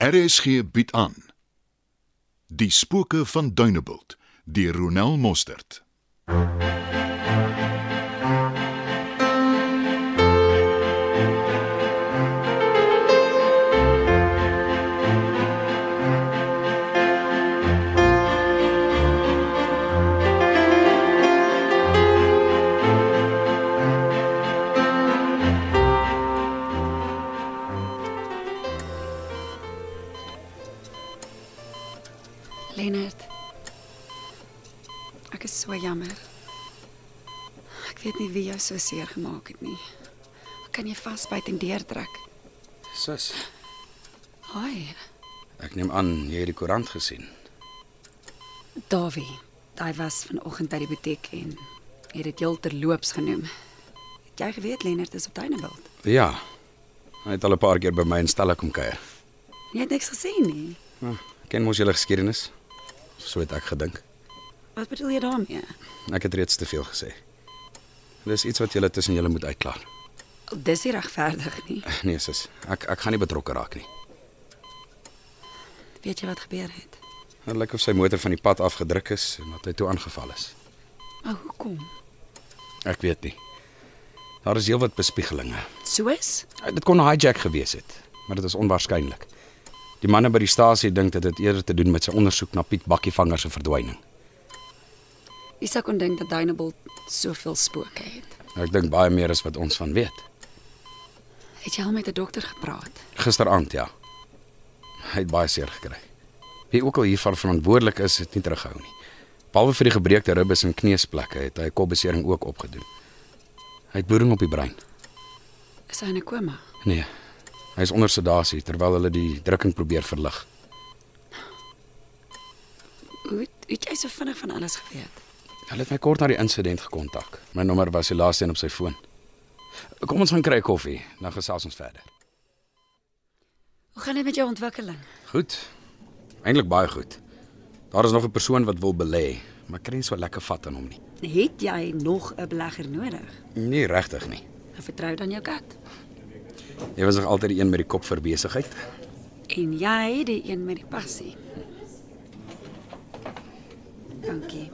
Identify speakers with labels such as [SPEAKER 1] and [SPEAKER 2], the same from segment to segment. [SPEAKER 1] RSG bied aan Die spooke van Dunebuld deur Ronel Mostert.
[SPEAKER 2] Lennard. Ek is so jammer. Ek weet nie wie jou so seer gemaak het nie. Ek kan jy vasbyt en deurtrek.
[SPEAKER 3] Sis,
[SPEAKER 2] Haai,
[SPEAKER 3] ek neem aan jy het die koerant gesien.
[SPEAKER 2] Dawie. Hy was vanoggend by die butiek en het dit heel terloops genoem. Het jy geweet Lennard is op Duneveld?
[SPEAKER 3] Ja. Hy het al 'n paar keer by my in Stella kom kuier.
[SPEAKER 2] Jy het niks gesien nie.
[SPEAKER 3] Ja, ken mos julle geskiedenis? So het ek gedink.
[SPEAKER 2] Wat bedoel jy daarmee?
[SPEAKER 3] Ek het reeds te veel gesê. Dis iets wat julle tussen julle moet uitklaar.
[SPEAKER 2] Dis nie regverdig nie.
[SPEAKER 3] Nee, sis, ek ek gaan nie betrokke raak nie.
[SPEAKER 2] Weet jy wat gebeur het?
[SPEAKER 3] Dit lyk of sy motor van die pad af gedruk is en dat hy toe aangeval is.
[SPEAKER 2] Maar hoekom?
[SPEAKER 3] Ek weet nie. Daar is heelwat bespiegelinge.
[SPEAKER 2] Soos?
[SPEAKER 3] Eh, Dit kon 'n hijack gewees het, maar dit is onwaarskynlik. Die manne by die stasie dink dit het eerder te doen met sy ondersoek na Piet Bakkievanger se verdwyning.
[SPEAKER 2] Isak kon dink dat Duneveld soveel spooke het.
[SPEAKER 3] Nou, Ek dink baie meer as wat ons van weet.
[SPEAKER 2] Het jy al met 'n dokter gepraat?
[SPEAKER 3] Gisteraand, ja. Hy het baie seer gekry. Wie ook al hiervan verantwoordelik is, het nie terughou nie. Behalwe vir die gebreekte ribbes en kneusplekke het hy 'n kopbesering ook opgedoen. Hy het bloeding op die brein.
[SPEAKER 2] Is hy in 'n koma?
[SPEAKER 3] Nee. Hy is onder sedasie terwyl hulle die drukking probeer verlig.
[SPEAKER 2] Hoe het- hoe het jy so vinnig van alles geweet?
[SPEAKER 3] Hulle het my kort na die insident gekontak. My nommer was die laaste een op sy foon. Kom ons gaan kry koffie, dan gesels ons verder.
[SPEAKER 2] Hoe gaan dit met jou ontwikkeling?
[SPEAKER 3] Goed. Eintlik baie goed. Daar is nog 'n persoon wat wil belê, maar kry nie so lekker vat aan hom nie.
[SPEAKER 2] Het jy nog 'n belegger nodig?
[SPEAKER 3] Nee, regtig nie.
[SPEAKER 2] En vertrou dan jou kat.
[SPEAKER 3] Jy was nog altyd die een met die kop vir besigheid.
[SPEAKER 2] En jy die een met die passie. Dankie.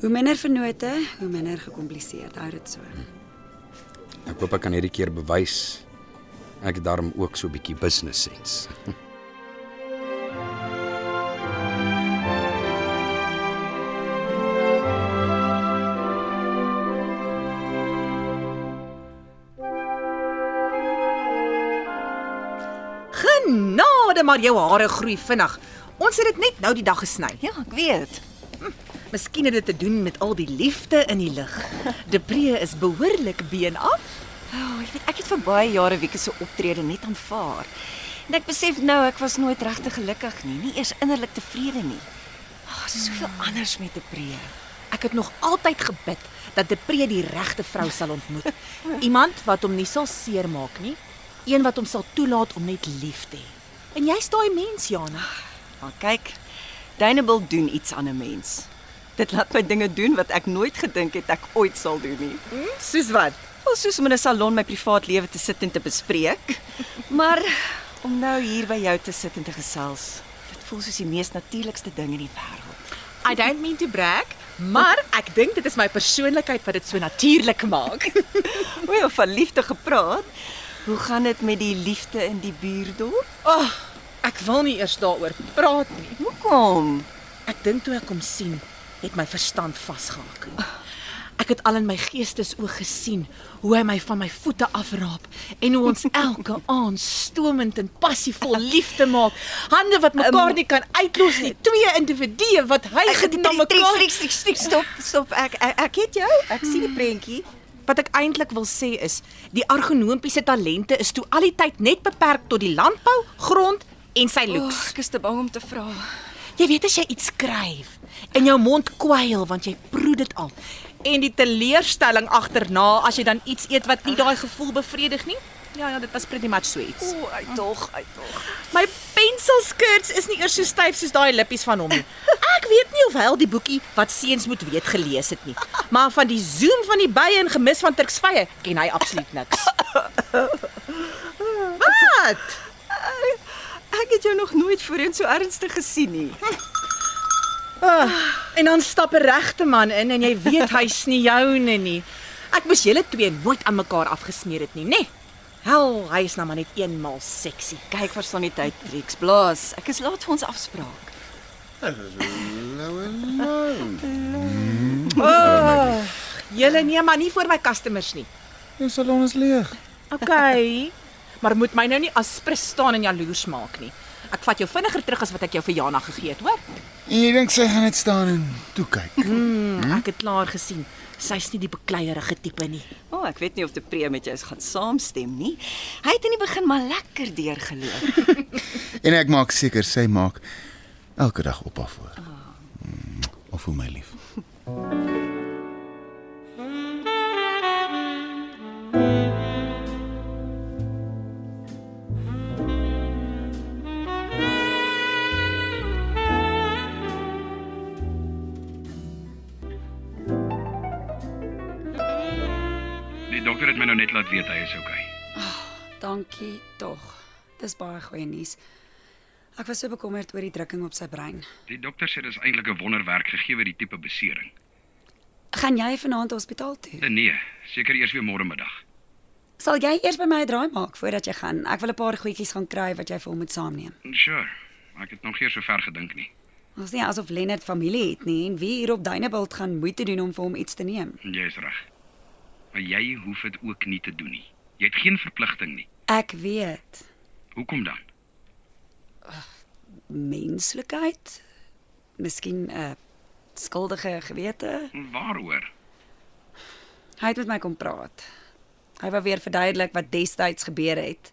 [SPEAKER 2] Hoe minder vennote, hoe minder gekompliseerd. Hou dit so.
[SPEAKER 3] Ek hoop ek kan hierdie keer bewys ek het daarom ook so 'n bietjie business sense.
[SPEAKER 4] Genade, maar jou hare groei vinnig. Ons het dit net nou die dag gesny. Hm,
[SPEAKER 5] Ja, ek weet.
[SPEAKER 4] Miskien het dit te doen met al die liefde in die lug. Depree is behoorlik been af.
[SPEAKER 5] Oh, ek weet ek het vir baie jare Wieke se optrede net aanvaar. En ek besef nou ek was nooit regtig gelukkig nie, nie eers innerlik tevrede nie. Ag, oh, soveel anders met Depree.
[SPEAKER 4] Ek het nog altyd gebid dat Depree die regte vrou sal ontmoet. Iemand wat hom nie sal seermaak nie, een wat hom sal toelaat om net lief te hê. En jy's daai mens, Jana.
[SPEAKER 5] Maar kyk, Dynable doen iets aan 'n mens. Dit laat my dinge doen wat ek nooit gedink het ek ooit sal doen nie.
[SPEAKER 4] Soos wat?
[SPEAKER 5] Ons Hm? soos om in 'n salon my privaat lewe te sit en te bespreek, maar om nou hier by jou te sit en te gesels. Dit voel soos die mees natuurlikste ding in die wêreld.
[SPEAKER 4] I don't mean to brag, maar ek dink dit is my persoonlikheid wat dit so natuurlik maak.
[SPEAKER 5] O, ja, van liefde gepraat. Hoe gaan dit met die liefde in die buurdorp?
[SPEAKER 4] Ag, oh, ek wil nie eers daaroor praat nie.
[SPEAKER 5] Hoekom?
[SPEAKER 4] Ek dink toe ek hom sien, het my verstand vasgehaak. Ek het al in my geestesoog gesien hoe hy my van my voete afraap en hoe ons elke aand stomend en passievol liefde maak. Hande wat mekaar nie kan uitlos nie, twee individue wat hy
[SPEAKER 5] Ek
[SPEAKER 4] na mekaar
[SPEAKER 5] strik strik strik stop stop ek ek, ek het jou. Ek sien die prentjie.
[SPEAKER 4] Wat ek eintlik wil sê is, die ergonomiese talente is toe al die tyd net beperk tot die landbou, grond en sy looks.
[SPEAKER 5] ek is te bang om te vra.
[SPEAKER 4] Jy weet as jy iets skryf en jou mond kwyl want jy proe dit al. En die teleurstelling agterna as jy dan iets eet wat nie daai gevoel bevredig nie. Ja ja, dit was pretty much so iets.
[SPEAKER 5] O, uitdog, uitdog.
[SPEAKER 4] My penselskirts is nie eers so styf soos daai lippies van hom nie. Ek weet nie of hy al die boekie wat seuns moet weet gelees het nie, maar van die zoom van die bye en gemis van Turksvye ken hy absoluut niks. Wat?
[SPEAKER 5] het jou nog nooit voorheen so ernstig gesien nie.
[SPEAKER 4] Ah, En dan stap 'n regte man in en jy weet hy's nie joune nie. Ek moes julle twee nooit aan mekaar afgesmeer het nie, nê? Nee. Hel, hy is nou maar net eenmal seksie.
[SPEAKER 5] Kyk, verstaan die tyd, Trix. Blaas, ek is laat vir ons afspraak.
[SPEAKER 4] Oh, julle nee, maar nie vir my customers nie.
[SPEAKER 6] Jou salon is leeg.
[SPEAKER 4] OK. maar moet my nou nie aspres staan en jaloers maak nie. Ek vat jou vinniger terug as wat ek jou vir Jana gegee het, hoor?
[SPEAKER 6] En jy dink sy gaan net staan en toe kyk.
[SPEAKER 4] Ek het klaar gesien. Sy's nie die bekleierige tipe nie.
[SPEAKER 5] O, oh, ek weet nie of die Prem met jou is gaan saamstem nie. Hy het in die begin maar lekker deurgeloop.
[SPEAKER 6] En ek maak seker sy maak elke dag op haar voor.
[SPEAKER 5] Ah.
[SPEAKER 6] Mm, Of hoe my lief.
[SPEAKER 7] Die dokter het my nou net laat weet hy is okay.
[SPEAKER 2] Dankie tog. Dis baie goeie nuus. Ek was so bekommerd oor die drukking op sy brein.
[SPEAKER 7] Die dokter sê dis eintlik 'n wonderwerk gegee wat die tipe besering.
[SPEAKER 2] Gaan jy vanaand hospitaal toe?
[SPEAKER 7] Eh, Nee, seker eers weer môre middag.
[SPEAKER 2] Sal jy eers by my 'n draai maak voordat jy gaan? Ek wil 'n paar goedjies gaan kry wat jy vir hom moet saamneem.
[SPEAKER 7] Sure. Ek het nog nie so ver gedink nie.
[SPEAKER 2] Ons nie asof Lennard familie het nie en wie hier op Dunebuld gaan moeite doen om vir hom iets te neem.
[SPEAKER 7] Jy's reg. Maar jy hoef dit ook nie te doen nie. Jy het geen verpligting nie.
[SPEAKER 2] Ek weet.
[SPEAKER 7] Hoekom dan?
[SPEAKER 2] Menslikheid? Miskien 'n skuldige gewete?
[SPEAKER 7] Waaroor?
[SPEAKER 2] Hy het met my kom praat. Hy wou weer verduidelik wat destyds gebeur het.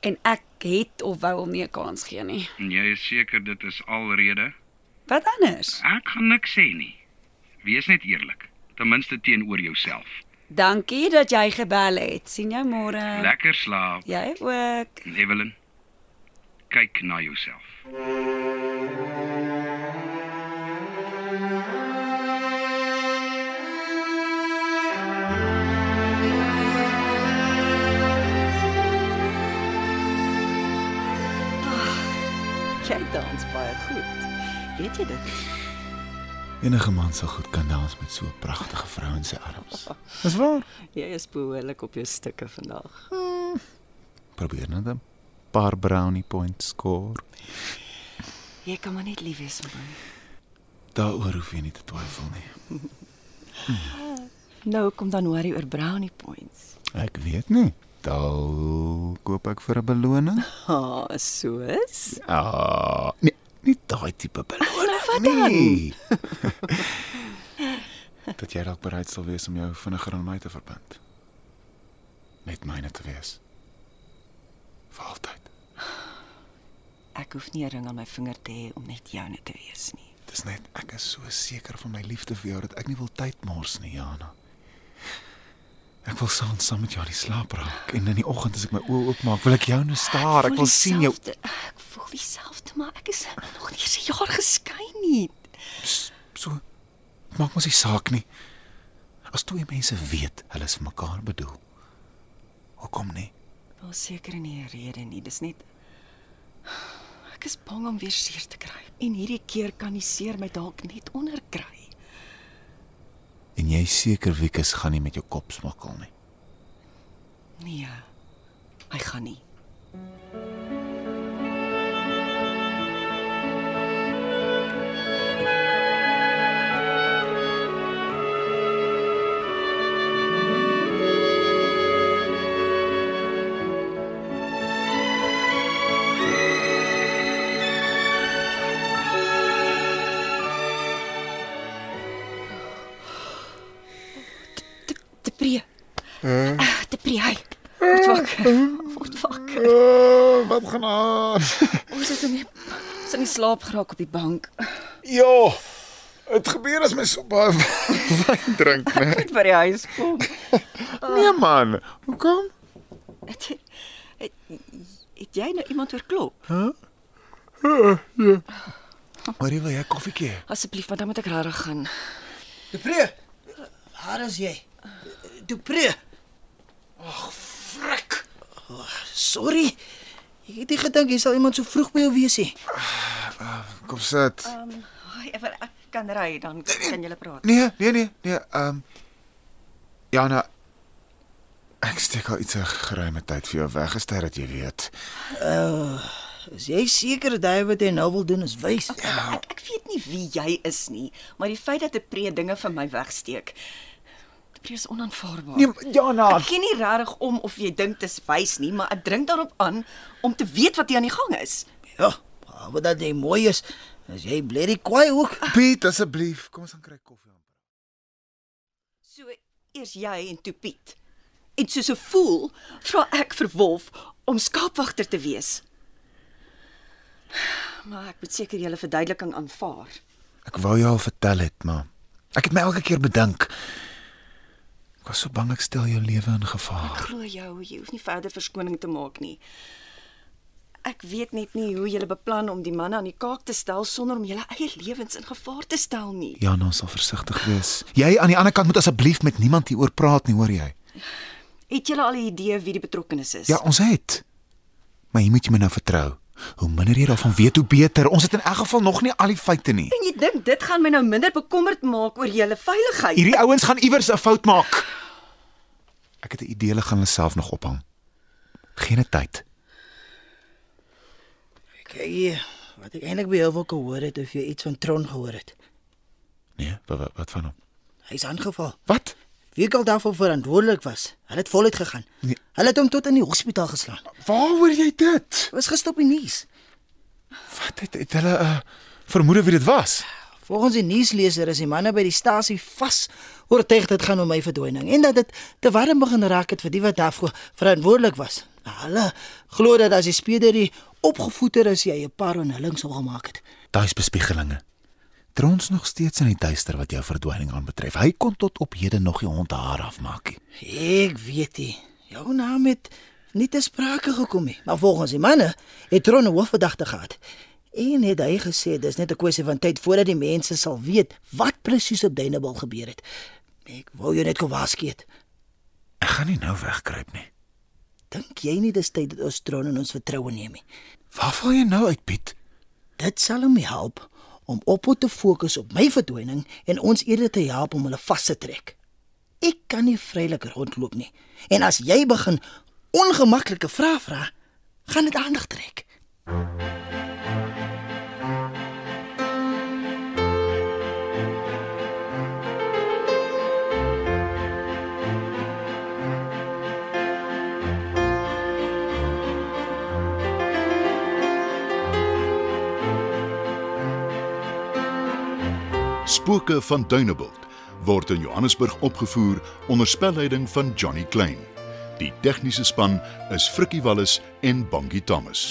[SPEAKER 2] En ek het of wou hom nie 'n kans gee nie.
[SPEAKER 7] Jy is seker dit is alrede?
[SPEAKER 2] Wat anders?
[SPEAKER 7] Ek gaan niks sê nie. Wees net eerlik, ten minste teenoor jouself.
[SPEAKER 2] Dankie dat jy gebel het. Sien jou môre.
[SPEAKER 7] Lekker slaap,
[SPEAKER 2] Jy ook.
[SPEAKER 7] Evelyn. Kyk na jouself.
[SPEAKER 5] Jy dans baie goed. Weet jy dit?
[SPEAKER 6] Enige man sal goed kan dans met so 'n pragtige vrou in sy arms. Dis waar. Hmm.
[SPEAKER 5] Jy is behoorlik op jou stukke vandag.
[SPEAKER 6] Probeer net 'n paar brownie points score.
[SPEAKER 5] Jy kan maar net lief wees vir my.
[SPEAKER 6] Daaroor hoef jy nie te twyfel nie.
[SPEAKER 5] Nou kom dan worry oor brownie points.
[SPEAKER 6] Ek weet nie. Dalk koop ek vir 'n beloning.
[SPEAKER 5] Ah, oh, soos.
[SPEAKER 6] Ah, nee, nie daai tipe beloning
[SPEAKER 5] wat
[SPEAKER 6] nie. Dat jy dalk bereid sal wees om jou vinniger aan my te verbind. Net myne te wees. Vir altyd.
[SPEAKER 5] Ek hoef nie 'n ring aan my vinger te hê om net joune te wees nie.
[SPEAKER 6] Dis net ek is so seker van my liefde vir jou dat ek nie wil tyd mors nie, Jana. Ek wil saam saam met jou aan die slaap raak en in die oggend as ek my oë oopmaak, wil ek jou nou staar. Ek wil sien jou.
[SPEAKER 5] Dieselfde- Ek voel dieselfde, maar ek is nog nie se jaar geskei nie.
[SPEAKER 6] So het maak mos nie saak nie. As twee mense weet hulle is vir mekaar bedoel. Hoekom nie?
[SPEAKER 5] Daar seker nie 'n rede nie. Dis net ek is bang om weer seer te kry. En hierdie keer kan die seer my dalk net onderkry.
[SPEAKER 6] En jy is seker Wikus gaan nie met jou kop smokkel nie.
[SPEAKER 5] Nee. Hy gaan nie. Te te pree. Uh, te pree hy. Word wakker. Word wakker. Oh,
[SPEAKER 6] Uh, wat gaan aan?
[SPEAKER 5] Ons het hom nie ons het in die slaap geraak op die bank.
[SPEAKER 6] ja. Dit gebeur as mens so baie wyn drink, né?
[SPEAKER 5] Net by die huis kom.
[SPEAKER 6] Nee man, hoekom?
[SPEAKER 5] Het, het, het jy nou iemand oorklop?
[SPEAKER 6] Marie wil jy koffietjie?
[SPEAKER 5] Ah. Asseblief, want dan moet ek regtig gaan.
[SPEAKER 8] Dupré. Waar is jy? Dupré. Ag, frik. Oh, Sorry. Ek het nie gedink jy sal iemand so vroeg by jou wees nie.
[SPEAKER 6] Kom sit.
[SPEAKER 5] Ai, oh, ek kan ry dan kan jy praat.
[SPEAKER 6] Nee, nee, nee, nee. Ehm um, Jana ek steek al iets 'n geruime tyd vir jou weggestel dat jy weet.
[SPEAKER 8] Is jy seker dat hy wat hy nou wil doen is wys?
[SPEAKER 5] Ek ek weet nie wie jy is nie, maar die feit dat 'n pree dinge van my wegsteek. Die pree is onaanvaarbaar.
[SPEAKER 6] Nee, maar
[SPEAKER 8] ja,
[SPEAKER 6] Jana,
[SPEAKER 5] Ek gee nie regtig om of jy dink dit is wys nie, maar ek dring daarop aan om te weet wat hier aan die gang is.
[SPEAKER 8] Ja, behalwe dat hy mooi is, is jy blerrie kwaai ook.
[SPEAKER 6] Piet asseblief, kom ons gaan kry koffie.
[SPEAKER 5] So eers jy en toe Piet. En soos 'n voel, vra ek vir Wolf om skaapwagter te wees. Maar ek moet seker julle verduideliking aanvaar.
[SPEAKER 6] Ek wou jou al vertel het, maar ek het my elke keer bedink. Ek was so bang ek stel jou lewe in gevaar.
[SPEAKER 5] Glo jou, jy hoef nie verder verskoning te maak nie. Ek weet net nie hoe julle beplan om die manne aan die kaak te stel sonder om julle eie lewens in gevaar te stel nie.
[SPEAKER 6] Jana sal versigtig wees. Jy aan die ander kant moet asseblief met niemand hieroor praat nie, hoor jy?
[SPEAKER 5] Het julle al 'n idee wie die betrokkenes is?
[SPEAKER 6] Ja, ons het. Maar jy moet jy my nou vertrou. Hoe minder jy daarvan weet, hoe beter. Ons het in elk geval nog nie al die feite nie.
[SPEAKER 5] En jy dink dit gaan my nou minder bekommerd maak oor julle veiligheid?
[SPEAKER 6] Hierdie ouens gaan iewers 'n fout maak. Ek het 'n idee hulle gaan hulle self nog ophang. Geen tyd.
[SPEAKER 8] Kyk hier, wat ek eintlik by jou wou gehoor het of jy iets van Tron gehoor het.
[SPEAKER 6] Nee, wat wat, wat van hom?
[SPEAKER 8] Hy's aangeval.
[SPEAKER 6] Wat?
[SPEAKER 8] Wie al daarvoor verantwoordelik was, hulle het voluit gegaan.
[SPEAKER 6] Nee.
[SPEAKER 8] Hulle het hom tot in die hospitaal geslaan.
[SPEAKER 6] Waaroor jy dit?
[SPEAKER 8] Was gister op die nuus.
[SPEAKER 6] Wat het, het hulle 'n uh, vermoede wie dit was?
[SPEAKER 8] Volgens die nuusleser is die manne by die stasie vas oortuig dit gaan om my verdwyning en dat dit te warm begin raak het vir die wat daarvoor verantwoordelik was. Hulle glo dat as die speeder die opgevoeter is, jy 'n paar onhullings sal maak het.
[SPEAKER 6] Daai's bespiegelinge. Trons nog steeds in die duister wat jou verdwyning aanbetref. Hy kon tot op hede nog nie hond haar afmaak nie.
[SPEAKER 8] Ek weet nie. Jou naam het nie te sprake gekom nie, maar volgens die manne het Tron 'n hoofverdagte gehad. En het hy gesê dis net 'n kwessie van tyd voordat die mense sal weet wat presies op Dunebal gebeur het. Ek wou jou net gewaarsku het.
[SPEAKER 6] Ek gaan nie nou wegkruip nie.
[SPEAKER 8] Dink jy nie dis tyd dat ons Tron in ons vertroue neem nie?
[SPEAKER 6] Waar val jy nou uit, Piet?
[SPEAKER 8] Dit sal hom help om op te fokus op my verdwyning en ons eerder te help om hulle vas te trek. Ek kan nie vrylik rondloop nie. En as jy begin ongemaklike vrae vra, gaan dit aandag trek.
[SPEAKER 1] Spooke van Dunebuld word in Johannesburg opgevoer onder spelleiding van Johnny Klein. Die tegniese span is Frikkie Wallis en Bongie Thomas.